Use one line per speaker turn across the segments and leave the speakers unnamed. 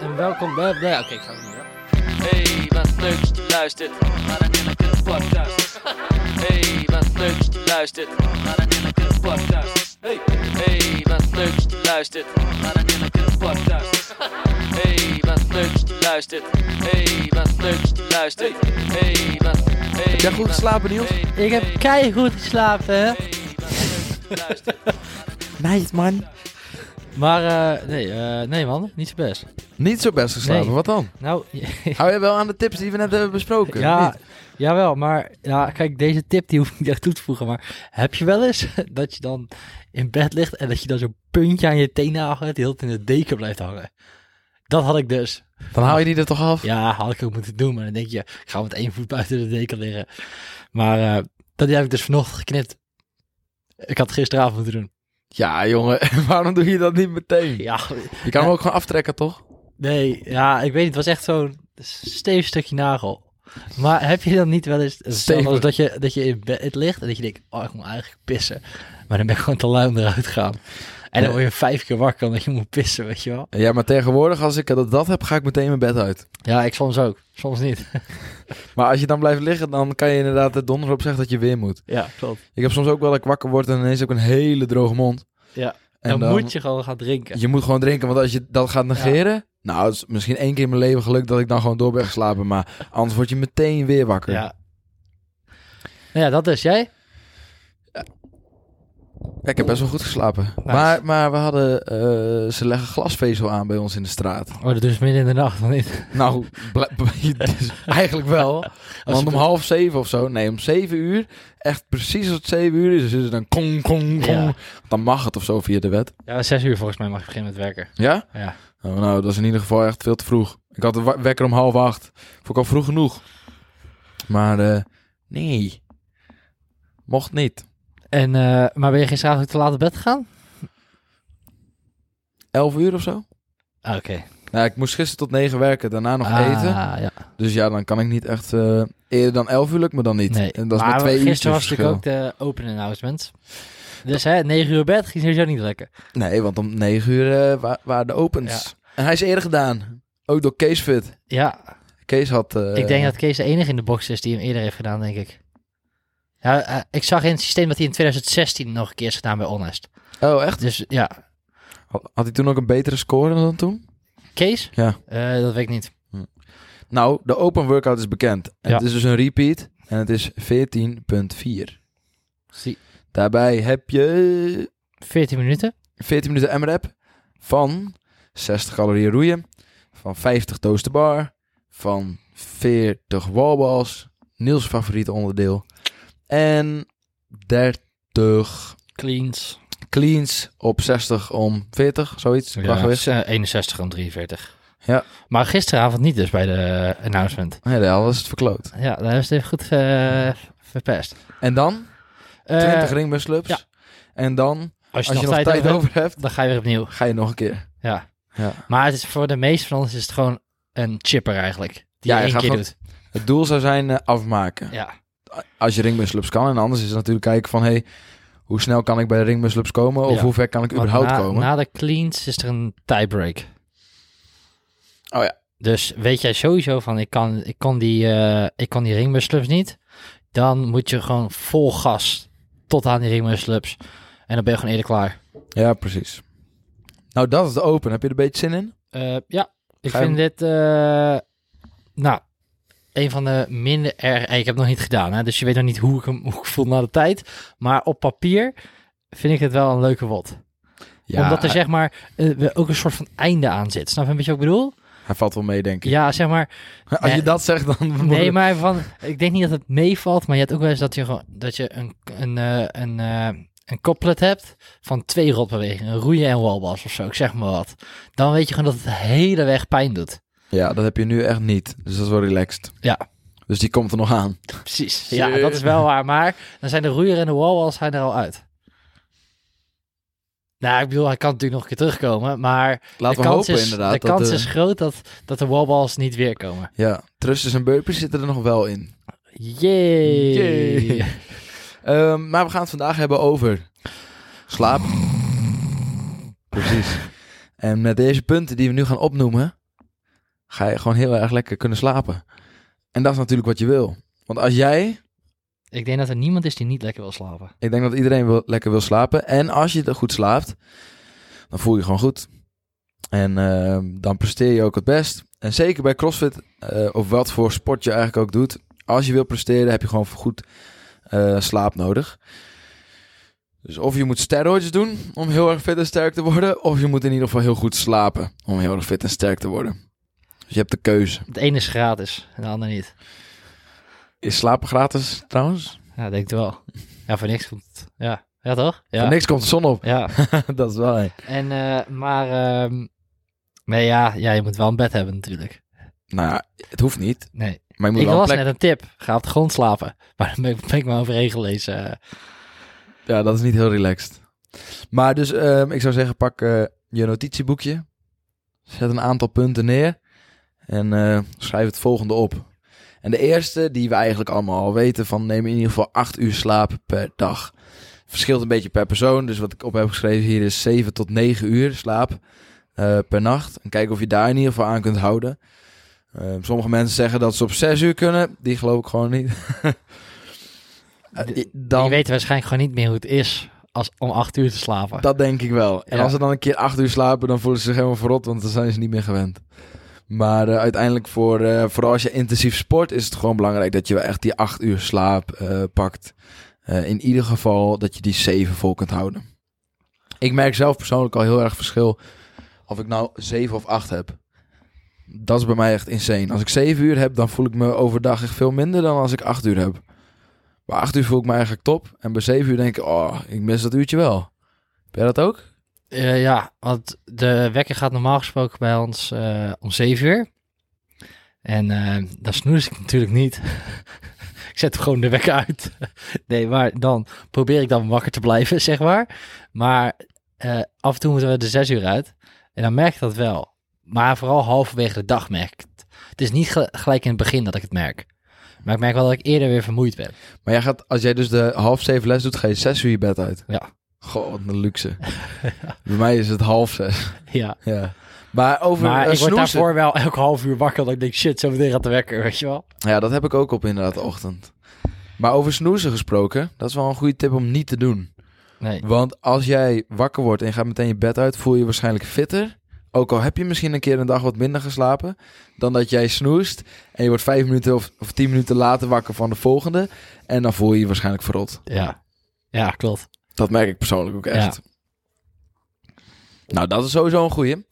En welkom bij... Nee, oké, ik ga het niet doen.
Hey, wat leuk dat je luistert naar een heerlijke podcast. Hey, wat leuk dat je luistert naar een heerlijke podcast. Hey, hey, wat leuk dat je luistert naar een heerlijke podcast. Hey, wat leuk dat je luistert. Hey, wat leuk dat je luistert. Hey, wat... Hey,
Jij goed
wat-
geslapen, Niels?
Hey,
Ik heb
hey,
keihard geslapen.
hey, wat leuk dat je luistert.
Nice, man.
Maar eh, nee, eh, nee man, niet zo best.
Niet zo best geslapen,
Nee.
wat dan?
Nou,
Hou je wel aan de tips die we net hebben besproken? of
ja,
eh, niet?
jawel, maar ja, kijk, deze tip die hoef ik niet echt toe te voegen. Maar heb je wel eens dat je dan in bed ligt en dat je dan zo'n puntje aan je teennagel hebt, die heel in de deken blijft hangen? Dat had ik dus.
Dan haal je die er toch af?
Ja, had ik ook moeten doen, maar dan denk je, ik ga met één voet buiten de deken liggen. Maar eh, dat heb ik dus vanochtend geknipt. Ik had het gisteravond moeten doen.
Ja, jongen, waarom doe je dat niet meteen?
Ja,
Je kan hem ook gewoon aftrekken, toch?
nee, ja, ik weet niet, het was echt zo'n stevig stukje nagel. Maar heb je dan niet wel eens hetzelfde als
Stevig.
dat je, dat je in bed ligt en dat je denkt, oh, ik moet eigenlijk pissen. Maar dan ben ik gewoon te luim eruit gaan. En dan word je vijf keer wakker omdat je moet pissen, weet je wel.
Ja, maar tegenwoordig, als ik dat, dat heb, ga ik meteen mijn bed uit.
Ja, ik soms ook. Soms niet.
Maar als je dan blijft liggen, dan kan je inderdaad het donder op zeggen dat je weer moet.
Ja, klopt.
Ik heb soms ook wel dat ik wakker word en ineens ook een hele droge mond.
Ja,
En
dan, moet je gewoon gaan drinken.
Je moet gewoon drinken, want als je dat gaat negeren... Nou, het is misschien één keer in mijn leven geluk dat ik dan gewoon door ben geslapen. Maar anders word je meteen weer wakker.
Ja. Nou ja, dat is jij.
Ja, ik heb best wel goed geslapen. Maar, maar we hadden... eh, ze leggen glasvezel aan bij ons in de straat.
Oh, dat is midden in de nacht, of niet?
Nou, bl- dus eigenlijk wel. Want om half zeven of zo, nee, om zeven uur, echt precies tot zeven uur is, is het een kong, kong, kong.
Ja.
Dan mag het of zo via de wet.
Ja, zes uur volgens mij mag je beginnen met werken.
Ja?
Ja.
Oh, nou, dat is in ieder geval echt veel te vroeg. Ik had de wa- wekker om half acht. Vond ik al vroeg genoeg. Maar eh, nee, mocht niet.
En, eh, maar ben je gisteravond ook te laat op bed gegaan?
Elf uur of zo?
Ah, Oké.
Nou, ik moest gisteren tot negen werken, daarna nog
Ah,
eten.
ja.
Dus ja, dan kan ik niet echt... eh, eerder dan elf uur lukt me dan niet.
Nee.
En dat is
maar
met twee uur
gisteren was natuurlijk ook de open announcement. Dus hè, negen uur bed ging sowieso niet lekker.
Nee, want om negen uur eh, wa- waren de opens. En hij is eerder gedaan. Ook door Kees Fit.
Ja,
Kees had... eh,
ik denk dat Kees de enige in de box is die hem eerder heeft gedaan, denk ik. Ja, eh, ik zag in het systeem dat hij in 2016 nog een keer is gedaan bij Honest.
Oh, echt?
Dus ja,
Had hij toen ook een betere score dan toen?
Kees?
Ja.
Eh, dat weet ik niet.
Nou, de open workout is bekend. En
Ja.
Het is dus een repeat. En het is 14.4. Daarbij heb je
14 minuten.
14 minuten MRAP van 60 calorieën roeien. Van 50 toast to bar. Van 40 wallballs. Niels favoriete onderdeel. En 30
Cleans.
cleans op 60 om 40, zoiets.
Ja,
Ja, geweest.
eh, 61 en 43.
Ja.
Maar gisteravond niet dus bij de eh, announcement.
Nee, de hel is het verkloot.
Ja, daar is het even goed eh, verpest.
En dan
Eh,
20 ringmusclubs.
ja.
En dan,
als
als je, nog tijd, over hebt,
dan ga je weer opnieuw.
ga je nog een keer.
Ja.
Ja.
Maar het is voor de meeste van ons is het gewoon een chipper eigenlijk. Die
Ja,
je één keer
je gaat gewoon-
doet.
Het doel zou zijn eh, afmaken.
Ja.
Als je ringmusclubs kan. En anders is het natuurlijk kijken van, hey, hoe snel kan ik bij de ringmusclubs komen? Of
Ja.
hoe ver kan ik überhaupt
Want na,
komen?
Na de cleans is er een tiebreak.
Oh ja.
Dus weet jij sowieso van ik kan, ik kan die, eh ik kan die ringmusclubs niet. Dan moet je gewoon vol gas tot aan die ringmusclubs. En dan ben je gewoon eerder klaar.
Ja, precies. Nou, dat is de open. Heb je er een beetje zin in?
Eh, ja, ik
Ga je
vind
hem-
dit. eh, nou, een van de minder erg. Ik heb het nog niet gedaan, hè, dus je weet nog niet hoe ik hem hoe ik voel na de tijd. Maar op papier vind ik het wel een leuke wot. Omdat er
hij,
zeg maar eh, ook een soort van einde aan zit. Snap je een beetje wat ik bedoel?
hij valt wel mee, denk ik.
Ja, zeg maar.
Als je
nee.
dat zegt, dan...
Nee, maar van. Ik denk niet dat het meevalt, maar je hebt ook wel eens dat je gewoon dat je een een eh, een eh, een couplet hebt van twee rotbewegingen, roeien en wallbars of zo, ik zeg maar wat. Dan weet je gewoon dat het de hele weg pijn doet.
Ja, dat heb je nu echt niet. Dus dat is wel relaxed.
Ja.
Dus die komt er nog aan.
Precies. Ja, dat is wel waar. Maar dan zijn de roeier en de wallwalls zijn er al uit. Nou, ik bedoel, hij kan natuurlijk nog een keer terugkomen. Maar
Laten
de
we
kans, is,
hopen inderdaad.
de
dat
kans
de-
is groot dat, dat de wallballs niet weer komen.
Ja, thrusters en burpees zitten er nog wel in.
Yay!
Yay. Ehm, maar we gaan het vandaag hebben over slaap. Precies. En met deze punten die we nu gaan opnoemen, ga je gewoon heel erg lekker kunnen slapen. En dat is natuurlijk wat je wil. Want als jij,
Ik denk dat er niemand is die niet lekker wil slapen.
ik denk dat iedereen wil, lekker wil slapen. En als je er goed slaapt, dan voel je je gewoon goed. En ehm, dan presteer je ook het best. En zeker bij CrossFit, eh, of wat voor sport je eigenlijk ook doet. Als je wil presteren, heb je gewoon goed eh, slaap nodig. Dus of je moet steroids doen om heel erg fit en sterk te worden. Of je moet in ieder geval heel goed slapen om heel erg fit en sterk te worden. Dus je hebt de keuze.
Het ene is gratis en de ander niet.
Is slapen gratis trouwens?
Ja, denk het wel. Ja, voor niks komt... Ja, ja toch? Ja.
Voor niks komt de zon op.
Ja,
dat is wel.
en, eh, maar... ehm, nee, ja, ja, je moet wel een bed hebben natuurlijk.
Nou, ja, het hoeft niet.
Nee.
Maar je moet
Ik
wel een
las
plek.
net een tip. Ga op de grond slapen. Maar dan ben ik, ben ik maar overheen gelezen. eh.
Ja, dat is niet heel relaxed. Maar dus, ehm, ik zou zeggen, pak eh, je notitieboekje. Zet een aantal punten neer. En eh, schrijf het volgende op. En de eerste, die we eigenlijk allemaal al weten, van neem in ieder geval acht uur slaap per dag. Verschilt een beetje per persoon. Dus wat ik op heb geschreven hier is 7 tot 9 uur slaap eh, per nacht. En kijk of je daar in ieder geval aan kunt houden. Ehm, sommige mensen zeggen dat ze op 6 uur kunnen. Die geloof ik gewoon niet. Eh,
Die-
dan...
Die weten waarschijnlijk gewoon niet meer hoe het is als, om acht uur te slapen.
Dat denk ik wel. En
Ja.
als ze dan een keer acht uur slapen, dan voelen ze zich helemaal verrot, want dan zijn ze niet meer gewend. Maar eh, uiteindelijk, voor, eh, vooral als je intensief sport, is het gewoon belangrijk dat je wel echt die acht uur slaap eh, pakt. Eh, in ieder geval dat je die zeven vol kunt houden. Ik merk zelf persoonlijk al heel erg verschil of ik nou zeven of acht heb. Dat is bij mij echt insane. Als ik zeven uur heb, dan voel ik me overdag echt veel minder dan als ik acht uur heb. Bij acht uur voel ik me eigenlijk top. En bij zeven uur denk ik, oh, ik mis dat uurtje wel. Ben jij dat ook?
Eh, ja, want de wekker gaat normaal gesproken bij ons eh, om 7 uur. En eh dan snoes ik natuurlijk niet. ik zet gewoon de wekker uit. nee, maar dan probeer ik dan wakker te blijven, zeg maar. Maar eh, af en toe moeten we de 6 uur uit. En dan merk ik dat wel. Maar vooral halverwege de dag merk ik het. Het is niet ge- gelijk in het begin dat ik het merk. Maar ik merk wel dat ik eerder weer vermoeid ben.
Maar jij gaat, als jij dus de half zeven les doet, ga je zes uur je bed uit.
Ja.
Goh, wat een luxe. Bij mij is het half zes.
Ja.
Ja. Maar over
Maar
eh,
ik word
snoezen-
daarvoor wel elk half uur wakker. Dat ik denk, shit, zo meteen gaat de wekker, weet je wel.
Ja, dat heb ik ook op inderdaad de ochtend. Maar over snoezen gesproken, dat is wel een goede tip om niet te doen.
Nee.
Want als jij wakker wordt en je gaat meteen je bed uit, voel je je waarschijnlijk fitter. Ook al heb je misschien een keer een dag wat minder geslapen, dan dat jij snoest en je wordt vijf minuten of, of tien minuten later wakker van de volgende. En dan voel je je waarschijnlijk verrot.
Ja. Ja, klopt.
Dat merk ik persoonlijk ook echt. Nou, dat is sowieso een goeie.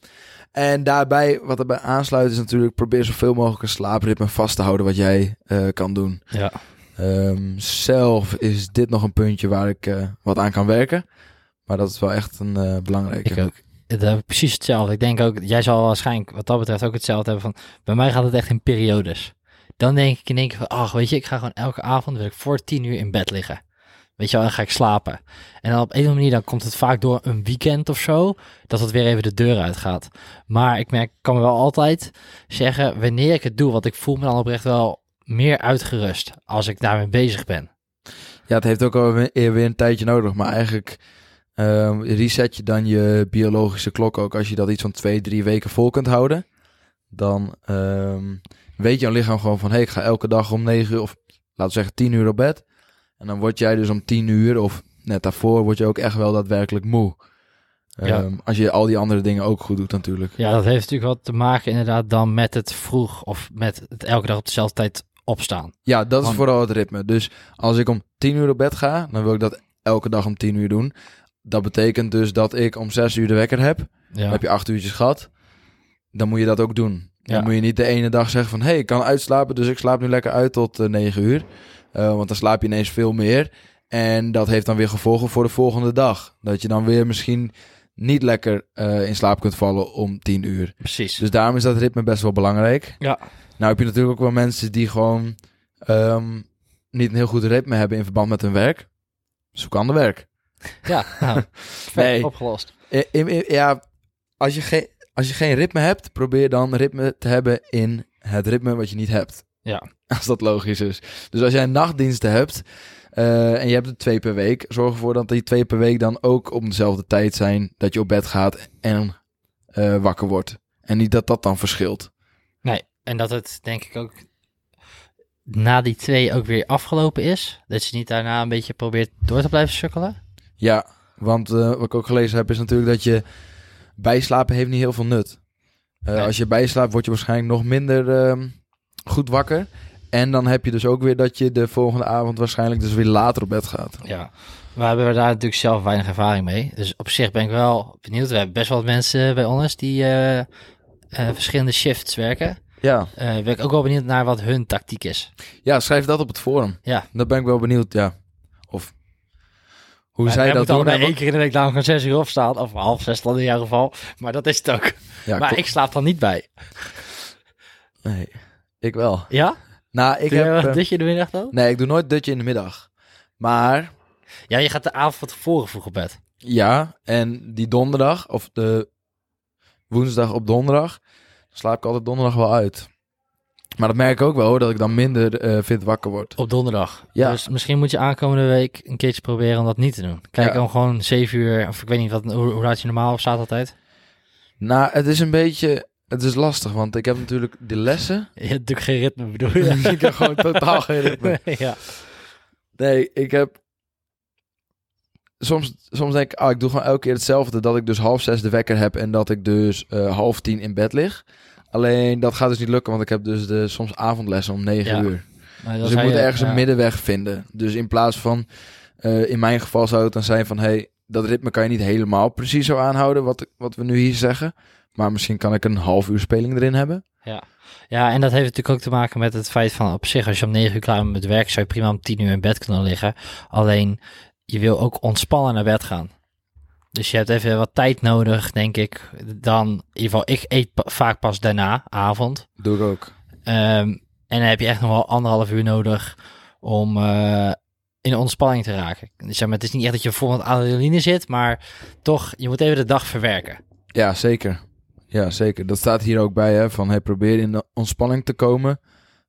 En daarbij, wat erbij aansluit, is natuurlijk probeer zoveel mogelijk een slaapritme vast te houden wat jij eh, kan doen.
Ja.
Ehm, zelf is dit nog een puntje waar ik eh, wat aan kan werken. Maar dat is wel echt een eh, belangrijke.
Ik ook. Dat heb ik precies hetzelfde. Ik denk ook, jij zal waarschijnlijk wat dat betreft ook hetzelfde hebben van, bij mij gaat het echt in periodes. Dan denk ik in één keer van, ach, weet je, ik ga gewoon elke avond, wil ik voor tien uur in bed liggen. Weet je wel, en ga ik slapen. En dan op een of andere manier, dan komt het vaak door een weekend of zo, dat het weer even de deur uitgaat. Maar ik merk, ik kan me wel altijd zeggen, wanneer ik het doe, want ik voel me dan oprecht wel meer uitgerust als ik daarmee bezig ben.
Ja, het heeft ook alweer weer een tijdje nodig. Maar eigenlijk ehm, reset je dan je biologische klok ook. Als je dat iets van twee, drie weken vol kunt houden. Dan ehm, weet jouw lichaam gewoon van... hé, hey, ik ga elke dag om negen uur of laten we zeggen tien uur op bed. En dan word jij dus om tien uur of net daarvoor... word je ook echt wel daadwerkelijk moe.
Ja.
Ehm, Als je al die andere dingen ook goed doet natuurlijk.
Ja, dat heeft natuurlijk wat te maken inderdaad dan met het vroeg of met het elke dag op dezelfde tijd opstaan.
Ja, dat is
Want-
vooral het ritme. Dus als ik om 10 uur op bed ga, dan wil ik dat elke dag om 10 uur doen. Dat betekent dus dat ik om 6 uur de wekker heb.
Ja.
Dan heb je acht uurtjes gehad. Dan moet je dat ook doen. Dan
Ja.
moet je niet de ene dag zeggen van... hé, hey, ik kan uitslapen, dus ik slaap nu lekker uit tot eh, negen uur. Eh, want dan slaap je ineens veel meer. En dat heeft dan weer gevolgen voor de volgende dag. Dat je dan weer misschien niet lekker eh, in slaap kunt vallen om tien uur.
Precies.
Dus daarom is dat ritme best wel belangrijk.
Ja.
Nou heb je natuurlijk ook wel mensen die gewoon... ehm, niet een heel goed ritme hebben in verband met hun werk. Zoek ander werk.
ja, nou,
Nee.
opgelost.
I- i- i- ja, als je, geen, als je geen ritme hebt, probeer dan ritme te hebben in het ritme wat je niet hebt.
Ja.
Als dat logisch is. Dus als jij nachtdiensten hebt eh, en je hebt er twee per week, zorg ervoor dat die twee per week dan ook om dezelfde tijd zijn dat je op bed gaat en eh, wakker wordt. En niet dat dat dan verschilt.
En dat het denk ik ook na die twee ook weer afgelopen is. Dat je niet daarna een beetje probeert door te blijven sukkelen.
Ja, want eh, wat ik ook gelezen heb is natuurlijk dat je bijslapen heeft niet heel veel nut. Eh,
Nee.
Als je bijslaapt word je waarschijnlijk nog minder ehm, goed wakker. En dan heb je dus ook weer dat je de volgende avond waarschijnlijk dus weer later op bed gaat.
Ja. We hebben daar natuurlijk zelf weinig ervaring mee. Dus op zich ben ik wel benieuwd. We hebben best wel wat mensen bij ons die eh, eh, verschillende shifts werken.
Ja.
Eh, ben ik ook wel benieuwd naar wat hun tactiek is.
ja, schrijf dat op het forum.
Ja.
Dan ben ik wel benieuwd, ja. Of hoe
Wij-
zij
wij
dat
moeten
doen.
allebei één keer in de week daarom gaan zes uur opstaan. Of half zes dan in jouw geval. Maar dat is het ook.
Ja,
maar
klopt.
ik slaap dan niet bij.
Nee, ik wel.
Ja?
Nou, ik
Doe jij
heb...
wel
eh,
een dutje in de middag dan?
Nee, ik doe nooit dutje in de middag. Maar
Ja, je gaat de avond van tevoren vroeg op bed.
Ja, en die donderdag, of de woensdag op donderdag, slaap ik altijd donderdag wel uit. Maar dat merk ik ook wel, hoor, dat ik dan minder eh fit wakker word.
Op donderdag.
Ja.
Dus misschien moet je aankomende week een keertje proberen om dat niet te doen. Kijk
Ja.
dan gewoon 7 uur, of ik weet niet wat, hoe, hoe laat je normaal op staat altijd.
Nou, het is een beetje, het is lastig, want ik heb natuurlijk de lessen.
Je hebt natuurlijk geen ritme, bedoel je?
ik heb gewoon totaal geen ritme.
ja.
Nee, ik heb... Soms, soms denk ik, ah, ik doe gewoon elke keer hetzelfde. Dat ik dus half zes de wekker heb en dat ik dus eh, half tien in bed lig. Alleen dat gaat dus niet lukken, want ik heb dus de, soms avondlessen om negen
Ja.
uur.
Maar dan
Dus
zou
ik moet
je-
ergens
ja.
een middenweg vinden. Dus in plaats van, eh, in mijn geval zou het dan zijn van... hey, dat ritme kan je niet helemaal precies zo aanhouden wat, wat we nu hier zeggen. Maar misschien kan ik een half uur speling erin hebben.
Ja, en dat heeft natuurlijk ook te maken met het feit van op zich, als je om 9 uur klaar bent met werk, zou je prima om 10 uur in bed kunnen liggen. Alleen, je wil ook ontspannen naar bed gaan. Dus je hebt even wat tijd nodig, denk ik. Dan, in ieder geval, ik eet pa- vaak pas daarna, avond.
Doe ik ook.
Ehm, en dan heb je echt nog wel anderhalf uur nodig om eh, in ontspanning te raken. Dus ja, maar het is niet echt dat je vol met adrenaline zit, maar toch, je moet even de dag verwerken.
Ja, zeker. Ja, zeker. Dat staat hier ook bij, hè. Van, hey, probeer in de ontspanning te komen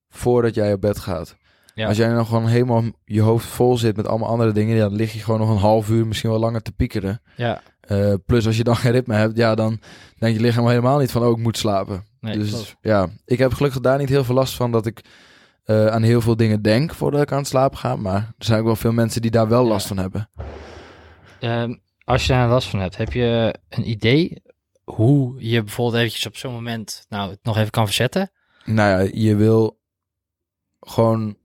voordat jij op bed gaat.
Ja.
Als jij nog gewoon helemaal je hoofd vol zit met allemaal andere dingen... ja, dan lig je gewoon nog een half uur, misschien wel langer te piekeren.
Ja,
Eh, plus als je dan geen ritme hebt, ja, dan denkt je lichaam helemaal niet van... oh, ik moet slapen.
nee,
dus
klopt.
ja, ik heb gelukkig daar niet heel veel last van dat ik eh, aan heel veel dingen denk voordat ik aan het slapen ga. Maar er zijn ook wel veel mensen die daar wel
Ja.
last van hebben.
Ehm, als je daar last van hebt, heb je een idee hoe je bijvoorbeeld eventjes op zo'n moment nou, het nog even kan verzetten?
Nou ja, je wil gewoon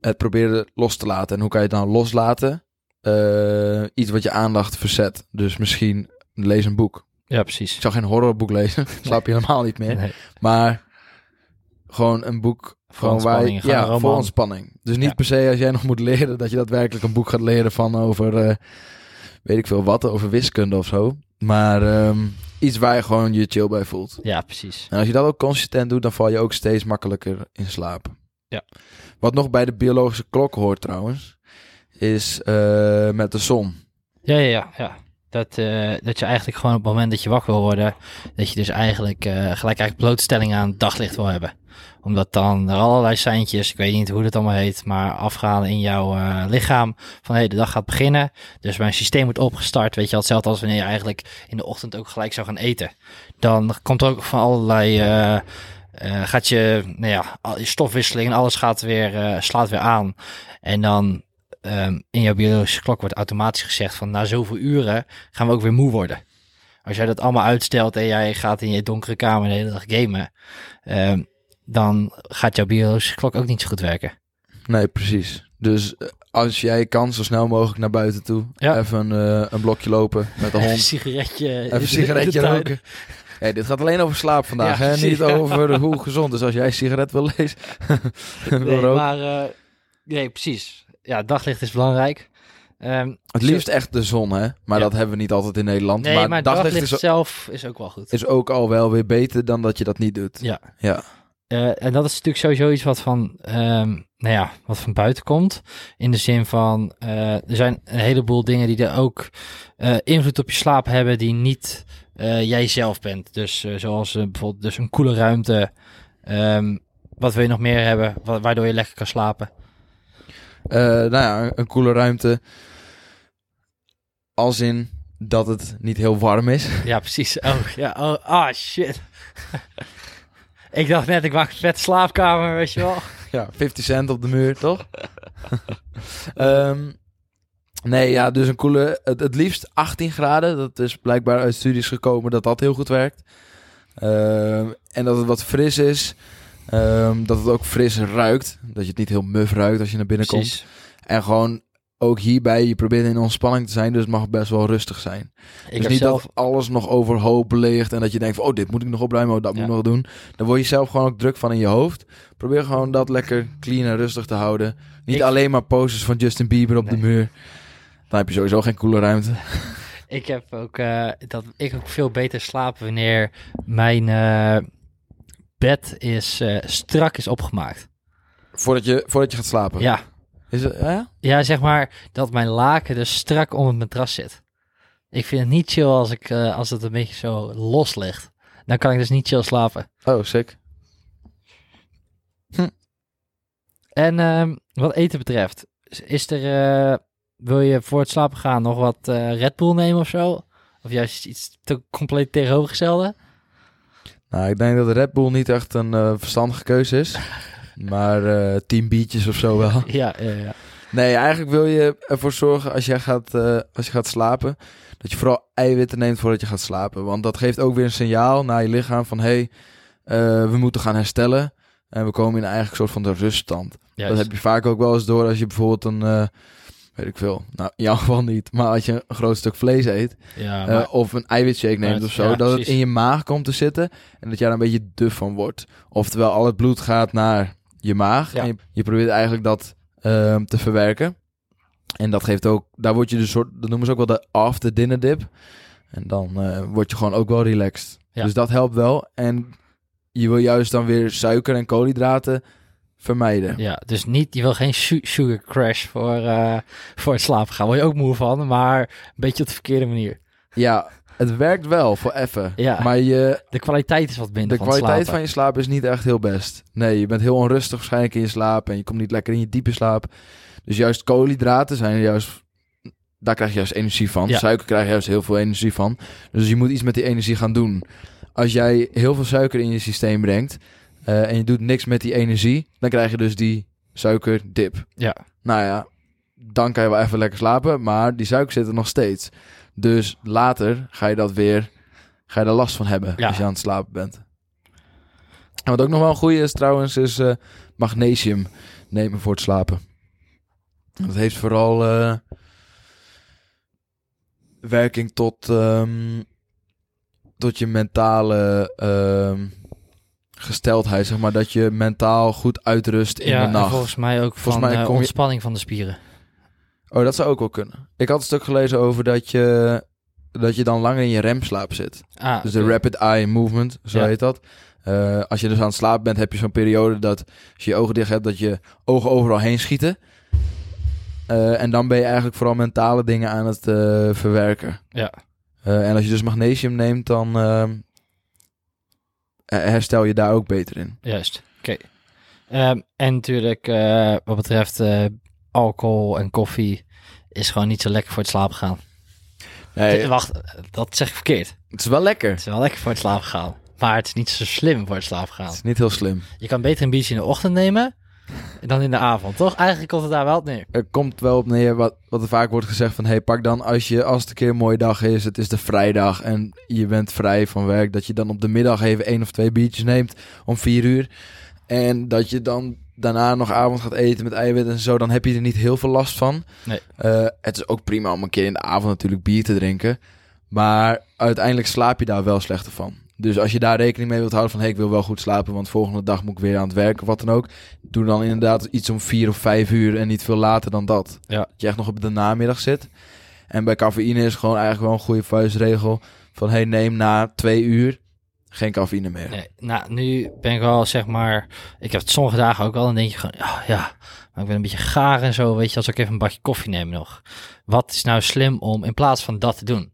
het proberen los te laten. En hoe kan je het dan loslaten? Eh, iets wat je aandacht verzet. Dus misschien lees een boek.
Ja,
Ik
precies.
zou geen horrorboek lezen. Slaap je helemaal niet meer.
Nee.
Maar gewoon een boek. Gewoon waar je,
ontspanning, gewoon
ja,
een roman.
voor ontspanning. Dus niet
Ja.
per se als jij nog moet leren dat je daadwerkelijk een boek gaat leren van over eh, weet ik veel wat, over wiskunde of zo. Maar ehm, iets waar je gewoon je chill bij voelt.
Ja, precies.
En als je dat ook consistent doet, dan val je ook steeds makkelijker in slaap.
Ja.
Wat nog bij de biologische klok hoort trouwens, is eh, met de som.
Ja, ja, ja. ja. Dat, eh, dat je eigenlijk gewoon op het moment dat je wakker wil worden, dat je dus eigenlijk eh, gelijk eigenlijk blootstelling aan het daglicht wil hebben. Omdat dan er allerlei seintjes, ik weet niet hoe dat allemaal heet, maar afgaan in jouw eh, lichaam van hé, de dag gaat beginnen. Dus mijn systeem wordt opgestart, weet je wel, hetzelfde als wanneer je eigenlijk in de ochtend ook gelijk zou gaan eten. Dan komt er ook van allerlei, eh, eh, gaat je, nou ja, al- je stofwisseling en alles gaat weer, eh, slaat weer aan. En dan ehm, in jouw biologische klok wordt automatisch gezegd van na zoveel uren gaan we ook weer moe worden. Als jij dat allemaal uitstelt en jij gaat in je donkere kamer de hele dag gamen, ehm, dan gaat jouw biologische klok ook niet zo goed werken.
Nee, precies. Dus eh, als jij kan, zo snel mogelijk naar buiten toe.
Ja.
Even eh, een blokje lopen met de
Even een
hond.
sigaretje.
Even een sigaretje roken. Hey, dit gaat alleen over slaap vandaag,
Ja,
hè?
precies,
Niet
ja.
over hoe gezond. Dus als jij een sigaret wil lezen, wil
Nee,
roken.
maar, eh, nee, precies. Ja, daglicht is belangrijk. Ehm,
Het liefst echt de zon, hè?
Ja.
Maar dat hebben we niet altijd in Nederland.
nee, maar,
maar daglicht,
daglicht
is,
zelf is ook wel goed.
is ook al wel weer beter dan dat je dat niet doet.
Ja.
Ja.
Eh, en dat is natuurlijk sowieso iets wat van, ehm, nou ja, wat van buiten komt. In de zin van, eh, er zijn een heleboel dingen die er ook eh, invloed op je slaap hebben die niet eh, jij zelf bent. Dus eh, zoals eh, bijvoorbeeld dus een koele ruimte. Ehm, wat wil je nog meer hebben, wa- waardoor je lekker kan slapen?
Eh, nou ja, een koele ruimte. Als in dat het niet heel warm is.
Ja, precies. Oh, ja. Oh, ah, shit. Ik dacht net, ik wacht vet slaapkamer, weet je wel.
Ja, 50 cent op de muur, toch? Ehm, nee, ja, dus een coole... Het, het liefst 18 graden. Dat is blijkbaar uit studies gekomen dat dat heel goed werkt. Ehm, en dat het wat fris is. Ehm, dat het ook fris ruikt. Dat je het niet heel muf ruikt als je naar binnen komt. En gewoon ook hierbij, je probeert in ontspanning te zijn, dus het mag best wel rustig zijn.
Ik
dus
heb
niet
zelf...
dat alles nog overhoop ligt en dat je denkt van, oh, dit moet ik nog opruimen, oh, dat
Ja.
moet ik nog doen. Dan word je zelf gewoon ook druk van in je hoofd. Probeer gewoon dat lekker clean en rustig te houden. Niet
Ik-
alleen maar posters van Justin Bieber op
Nee.
de muur. Dan heb je sowieso geen koele ruimte.
Ik heb ook eh, dat ik ook veel beter slaap wanneer mijn eh, bed is eh, strak is opgemaakt.
Voordat je, voordat je gaat slapen.
Oh Ja.
Is het, ja?
ja, zeg maar dat mijn laken dus strak om het matras zit. Ik vind het niet chill als, ik, eh, als het een beetje zo los ligt. Dan kan ik dus niet chill slapen.
Oh, sick.
En ehm, wat eten betreft, is- is er, eh, wil je voor het slapen gaan nog wat eh, Red Bull nemen of zo? Of juist iets te compleet tegenovergestelde?
Nou, ik denk dat Red Bull niet echt een eh, verstandige keuze is. maar eh, tien biertjes of zo wel.
Ja, ja, ja.
Nee, eigenlijk wil je ervoor zorgen als, jij gaat, eh, als je gaat slapen, dat je vooral eiwitten neemt voordat je gaat slapen. Want dat geeft ook weer een signaal naar je lichaam van, hé, hey, eh, we moeten gaan herstellen. En we komen in een eigen soort van de ruststand.
Juist.
Dat heb je vaak ook wel eens door als je bijvoorbeeld een, eh, weet ik veel, nou in jouw geval niet, maar als je een groot stuk vlees eet
ja,
eh, of een eiwitshake
Maar
neemt
het-
of zo,
ja,
dat het
precies.
in je maag komt te zitten en dat jij daar een beetje duf van wordt. Oftewel, al het bloed gaat naar je maag
Ja.
en je, je probeert eigenlijk dat ehm, te verwerken. En dat geeft ook, daar word je dus soort, dat noemen ze ook wel de after dinner dip. En dan eh, word je gewoon ook wel relaxed.
Ja.
Dus dat helpt wel. En je wil juist dan weer suiker en koolhydraten vermijden.
Ja, dus niet, je wil geen su- sugar crash voor, eh, voor het slapen gaan. Word je ook moe van, maar een beetje op de verkeerde manier.
Ja, het werkt wel voor effen.
Ja.
Maar je,
De kwaliteit is wat minder
de
van het
kwaliteit van
slapen.
je slaap is niet echt heel best. Nee, je bent heel onrustig waarschijnlijk in je slaap en je komt niet lekker in je diepe slaap. Dus juist koolhydraten zijn juist, daar krijg je juist energie van.
Ja.
Suiker krijg je juist heel veel energie van. Dus je moet iets met die energie gaan doen. Als jij heel veel suiker in je systeem brengt eh, en je doet niks met die energie, dan krijg je dus die suikerdip.
Ja.
Nou ja, dan kan je wel even lekker slapen, maar die suiker zit er nog steeds. Dus later ga je dat weer, ga je daar last van hebben
Ja.
als je aan het slapen bent. En wat ook nog wel een goede is trouwens, is eh, magnesium nemen voor het slapen. Dat heeft vooral eh, werking tot, ehm, tot je mentale ehm, gesteldheid, zeg maar. Dat je mentaal goed uitrust in
ja,
de
en
nacht.
volgens mij ook
Volgens
van
mij
eh,
kom je-
ontspanning van de spieren.
Oh, dat zou ook wel kunnen. Ik had een stuk gelezen over dat je, dat je dan langer in je remslaap zit.
Ah,
Dus de
oké.
rapid eye movement, zo
Ja.
heet dat. Eh, als je dus aan het slapen bent, heb je zo'n periode dat als je je ogen dicht hebt, dat je ogen overal heen schieten. Eh, en dan ben je eigenlijk vooral mentale dingen aan het eh, verwerken.
Ja.
Eh, en als je dus magnesium neemt, dan ehm, eh, herstel je daar ook beter in.
Juist, oké. Ehm, en natuurlijk, eh, wat betreft eh, alcohol en koffie, is gewoon niet zo lekker voor het slapen gaan.
Nee,
Eh, Wacht, eh, dat zeg ik verkeerd.
het is wel lekker.
Het is wel lekker voor het slapen gaan. Maar het is niet zo slim voor het slapen
Het
gaan.
is niet heel slim.
Je kan beter een biertje in de ochtend nemen dan in de avond, toch? Eigenlijk komt het daar wel op neer.
er komt wel op neer wat, wat er vaak wordt gezegd van... hey, pak dan als, je, als het een keer een mooie dag is, het is de vrijdag... en je bent vrij van werk, dat je dan op de middag even één of twee biertjes neemt... om vier uur. En dat je dan daarna nog avond gaat eten met eiwit en zo... dan heb je er niet heel veel last van.
Nee.
Eh, het is ook prima om een keer in de avond natuurlijk bier te drinken... maar uiteindelijk slaap je daar wel slechter van. Dus als je daar rekening mee wilt houden van... hé, hey, ik wil wel goed slapen, want volgende dag moet ik weer aan het werk of wat dan ook... Doe dan inderdaad iets om vier of vijf uur en niet veel later dan dat.
Ja.
Dat je echt nog op de namiddag zit. En bij cafeïne is gewoon eigenlijk wel een goede vuistregel van... hey, neem na twee uur geen cafeïne meer.
Nee, nou, nu ben ik wel, zeg maar... Ik heb het sommige dagen ook wel. Dan denk je gewoon, ja, ja, maar ik ben een beetje gaar en zo. Weet je, als ik even een bakje koffie neem nog. Wat is nou slim om in plaats van dat te doen?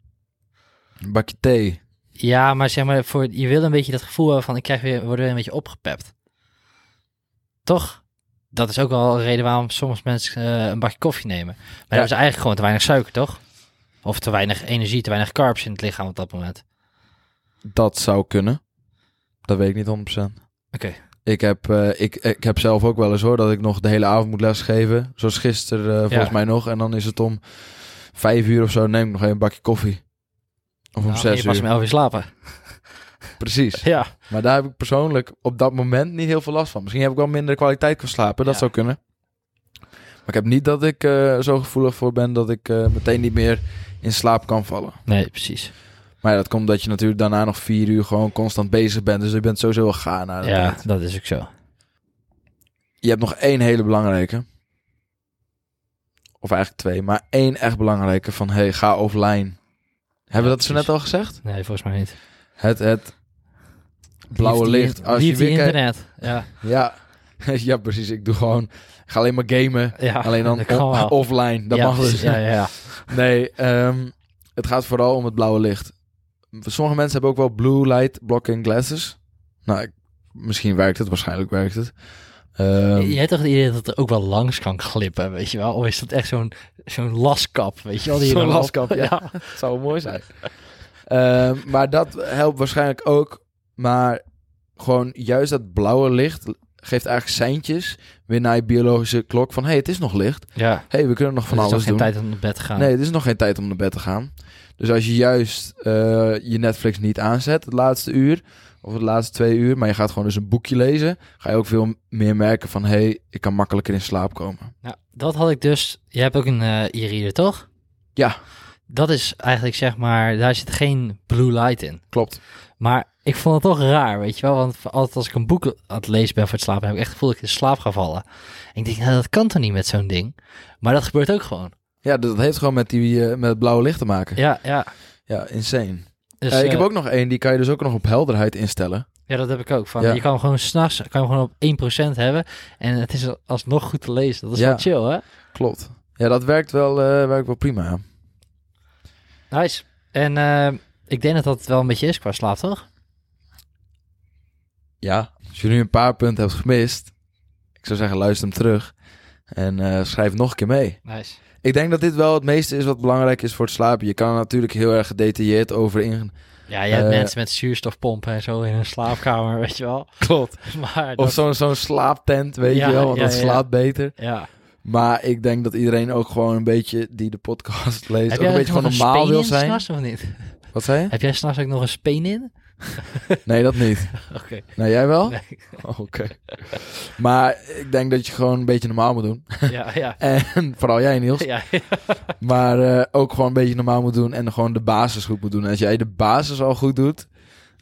Een bakje thee.
Ja, maar zeg maar, voor, je wil een beetje dat gevoel hebben van... Ik krijg weer, word weer een beetje opgepept. Toch? Dat is ook wel een reden waarom soms mensen eh, een bakje koffie nemen. Maar dat is eigenlijk gewoon te weinig suiker, toch? Of te weinig energie, te weinig carbs in het lichaam op dat moment.
Dat zou kunnen. Dat weet ik niet 100%.
Oké.
Ik, heb, eh, ik, ik heb zelf ook wel eens hoor dat ik nog de hele avond moet lesgeven. Zoals gisteren eh, volgens
Ja.
mij nog. En dan is het om vijf uur of zo. Neem ik nog even een bakje koffie. Of om
Nou,
zes
je was
uur.
om elf uur slapen.
Precies.
Ja.
Maar daar heb ik persoonlijk op dat moment niet heel veel last van. Misschien heb ik wel minder kwaliteit kan slapen. Dat
Ja.
zou kunnen. Maar ik heb niet dat ik eh, zo gevoelig voor ben dat ik eh, meteen niet meer in slaap kan vallen.
Nee, precies.
Maar ja, dat komt dat je natuurlijk daarna nog vier uur gewoon constant bezig bent. Dus je bent sowieso wel gaar na de
Ja,
tijd.
dat is ook zo.
Je hebt nog één hele belangrijke. Of eigenlijk twee, maar één echt belangrijke van hey, ga offline. Hebben we dat
precies.
zo net al gezegd?
Nee, volgens mij niet.
Het, het blauwe
Liefde-
licht. Als je
liefde
weer kijkt-
internet. Ja.
Ja. ja, precies. Ik doe gewoon. Ik ga alleen maar gamen.
ja.
alleen dan
dat kan
on-
wel.
offline. Dat
ja,
mag dus.
precies. Ja, ja, ja.
Nee, ehm, het gaat vooral om het blauwe licht. Sommige mensen hebben ook wel blue light blocking glasses. Nou, ik- misschien werkt het, waarschijnlijk werkt het. Ehm,
Jij hebt toch het idee dat het er ook wel langs kan glippen, weet je wel? Of is dat echt zo'n zo'n laskap, weet je wel? die je
Zo'n
dan op-
laskap, ja. Het zou mooi zijn. Ehm, maar dat helpt waarschijnlijk ook. Maar gewoon juist dat blauwe licht geeft eigenlijk seintjes weer naar je biologische klok van... hé, hey, het is nog licht.
Ja,
Hé, hey, we kunnen nog van
het is nog
alles
geen
doen.
tijd om naar bed te gaan.
Nee, het is nog geen tijd om naar bed te gaan. Dus als je juist eh, je Netflix niet aanzet het laatste uur... of het laatste twee uur, maar je gaat gewoon dus een boekje lezen... ga je ook veel meer merken van... hé, hey, ik kan makkelijker in slaap komen.
Nou, dat had ik dus. Je hebt ook een eh e-reader, toch?
Ja.
Dat is eigenlijk zeg maar, daar zit geen blue light in.
Klopt.
Maar ik vond het toch raar, weet je wel? Want voor- altijd als ik een boek aan het lezen ben voor het slapen, heb ik echt het gevoel dat ik in slaap ga vallen. En ik denk, nou, dat kan toch niet met zo'n ding? Maar dat gebeurt ook gewoon.
Ja, dat heeft gewoon met, die, eh, met het blauwe licht te maken.
Ja, ja.
ja insane.
Dus,
Eh, ik
eh,
heb ook nog één, die kan je dus ook nog op helderheid instellen.
Ja, dat heb ik ook. Van,
Ja.
Je kan hem gewoon s'nachts kan je hem gewoon op 1% hebben. En het is alsnog goed te lezen. Dat is
Ja.
wel chill, hè?
Klopt. Ja, dat werkt wel, eh, werkt wel prima. ja.
Nice. En eh, ik denk dat dat het wel een beetje is qua slaap, toch?
Ja. Als je nu een paar punten hebt gemist, ik zou zeggen luister hem terug en eh, schrijf nog een keer mee.
Nice.
Ik denk dat dit wel het meeste is wat belangrijk is voor het slapen. Je kan er natuurlijk heel erg gedetailleerd over in.
Ja, je hebt
Eh,
mensen met zuurstofpompen en zo in hun slaapkamer, weet je wel.
Klopt.
Maar dat,
Of zo'n zo'n slaaptent, weet
Ja,
je wel, want
ja,
dat
ja.
slaapt beter.
ja.
Maar ik denk dat iedereen ook gewoon een beetje, die de podcast leest, ook een beetje gewoon normaal wil zijn.
S'nachts, of niet?
Wat zei je?
Heb jij s'nachts ook nog een speen in?
Nee, dat niet.
Oké.
Nou, jij wel?
Nee.
Oké. Maar ik denk dat je gewoon een beetje normaal moet doen.
Ja, ja.
En vooral jij, Niels.
Ja,
Maar eh, ook gewoon een beetje normaal moet doen en gewoon de basis goed moet doen. En als jij de basis al goed doet,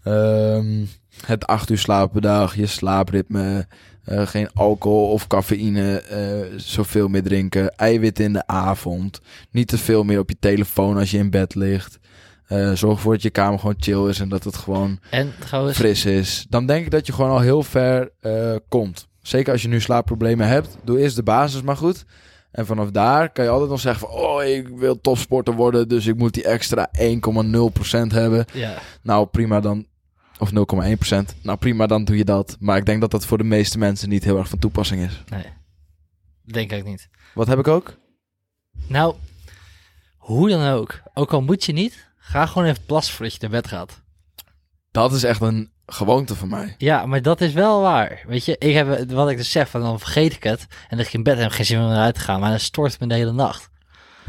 ehm, het acht uur slapen per dag, je slaapritme, eh, geen alcohol of cafeïne, eh, zoveel meer drinken, eiwitten in de avond, niet te veel meer op je telefoon als je in bed ligt. Eh, zorg ervoor dat je kamer gewoon chill is en dat het gewoon
En trouwens,
fris is, dan denk ik dat je gewoon al heel ver eh, komt. Zeker als je nu slaapproblemen hebt, doe eerst de basis maar goed. En vanaf daar kan je altijd nog zeggen van, oh, ik wil topsporter worden, dus ik moet die extra 1,0% hebben.
ja,
Nou, prima dan. Of 0,1%. Nou, prima, dan doe je dat. Maar ik denk dat dat voor de meeste mensen niet heel erg van toepassing is.
denk ik niet.
Wat heb ik ook?
Nou, hoe dan ook. Ook al moet je niet, ga gewoon even plassen voordat je naar bed gaat.
Dat is echt een gewoonte van mij.
Ja, maar dat is wel waar. Weet je, ik heb, wat ik dus zeg, van dan vergeet ik het. En dan lig ik in bed en heb ik geen zin meer om eruit te gaan. Maar dan stort me de hele nacht.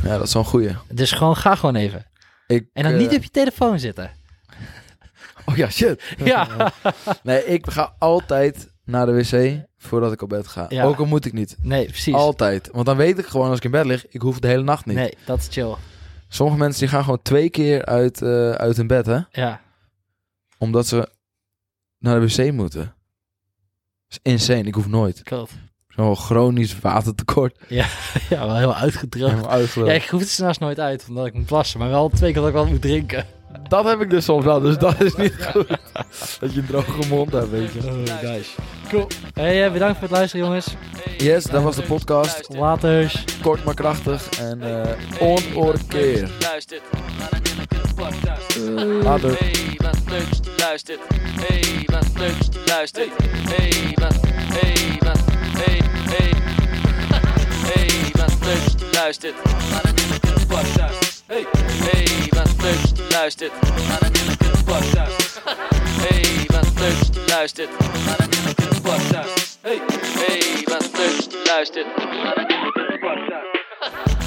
Ja, dat is wel een goeie.
Dus gewoon, ga gewoon even.
Ik,
En dan
eh,
niet op je telefoon zitten.
Oh ja, shit.
Ja.
Nee, ik ga altijd naar de wc voordat ik op bed ga.
Ja.
Ook al moet ik niet.
Nee, precies.
Altijd. Want dan weet ik gewoon als ik in bed lig, ik hoef de hele nacht niet.
Nee, dat is chill.
Sommige mensen die gaan gewoon twee keer uit, eh, uit hun bed, hè?
Ja.
Omdat ze naar de wc moeten. Dat is insane. Ik hoef nooit.
Klopt.
Zo'n chronisch watertekort.
Ja, wel heel uitgedroogd.
Helemaal
Ja,
uitgeluld.
ik hoef het s'nachts nooit uit, omdat ik moet plassen. Maar wel twee keer dat ik wat moet drinken.
Dat heb ik dus soms wel, dus dat is niet goed. Dat je een droge mond hebt, weet je.
nice. Cool. Hey, eh, bedankt voor het luisteren, jongens.
Yes, dat was de podcast.
Waters.
Kort maar krachtig en eh onoorkeer.
Luistert naar een heerlijke podcast.
Later.
Hey, wat leuk dat je luistert. Hey, wat leuk dat je luistert. Hey, wat, hey, wat, hey, hey. Hey, wat leuk dat je luistert naar een heerlijke podcast. Hey, hey, wat leuk dat je luistert naar een heerlijke podcast. Hey, wat leuk dat je luistert. luistert naar de Dilleke podcast. Hey, hey, wat leuk luistert naar de Dilleke podcast.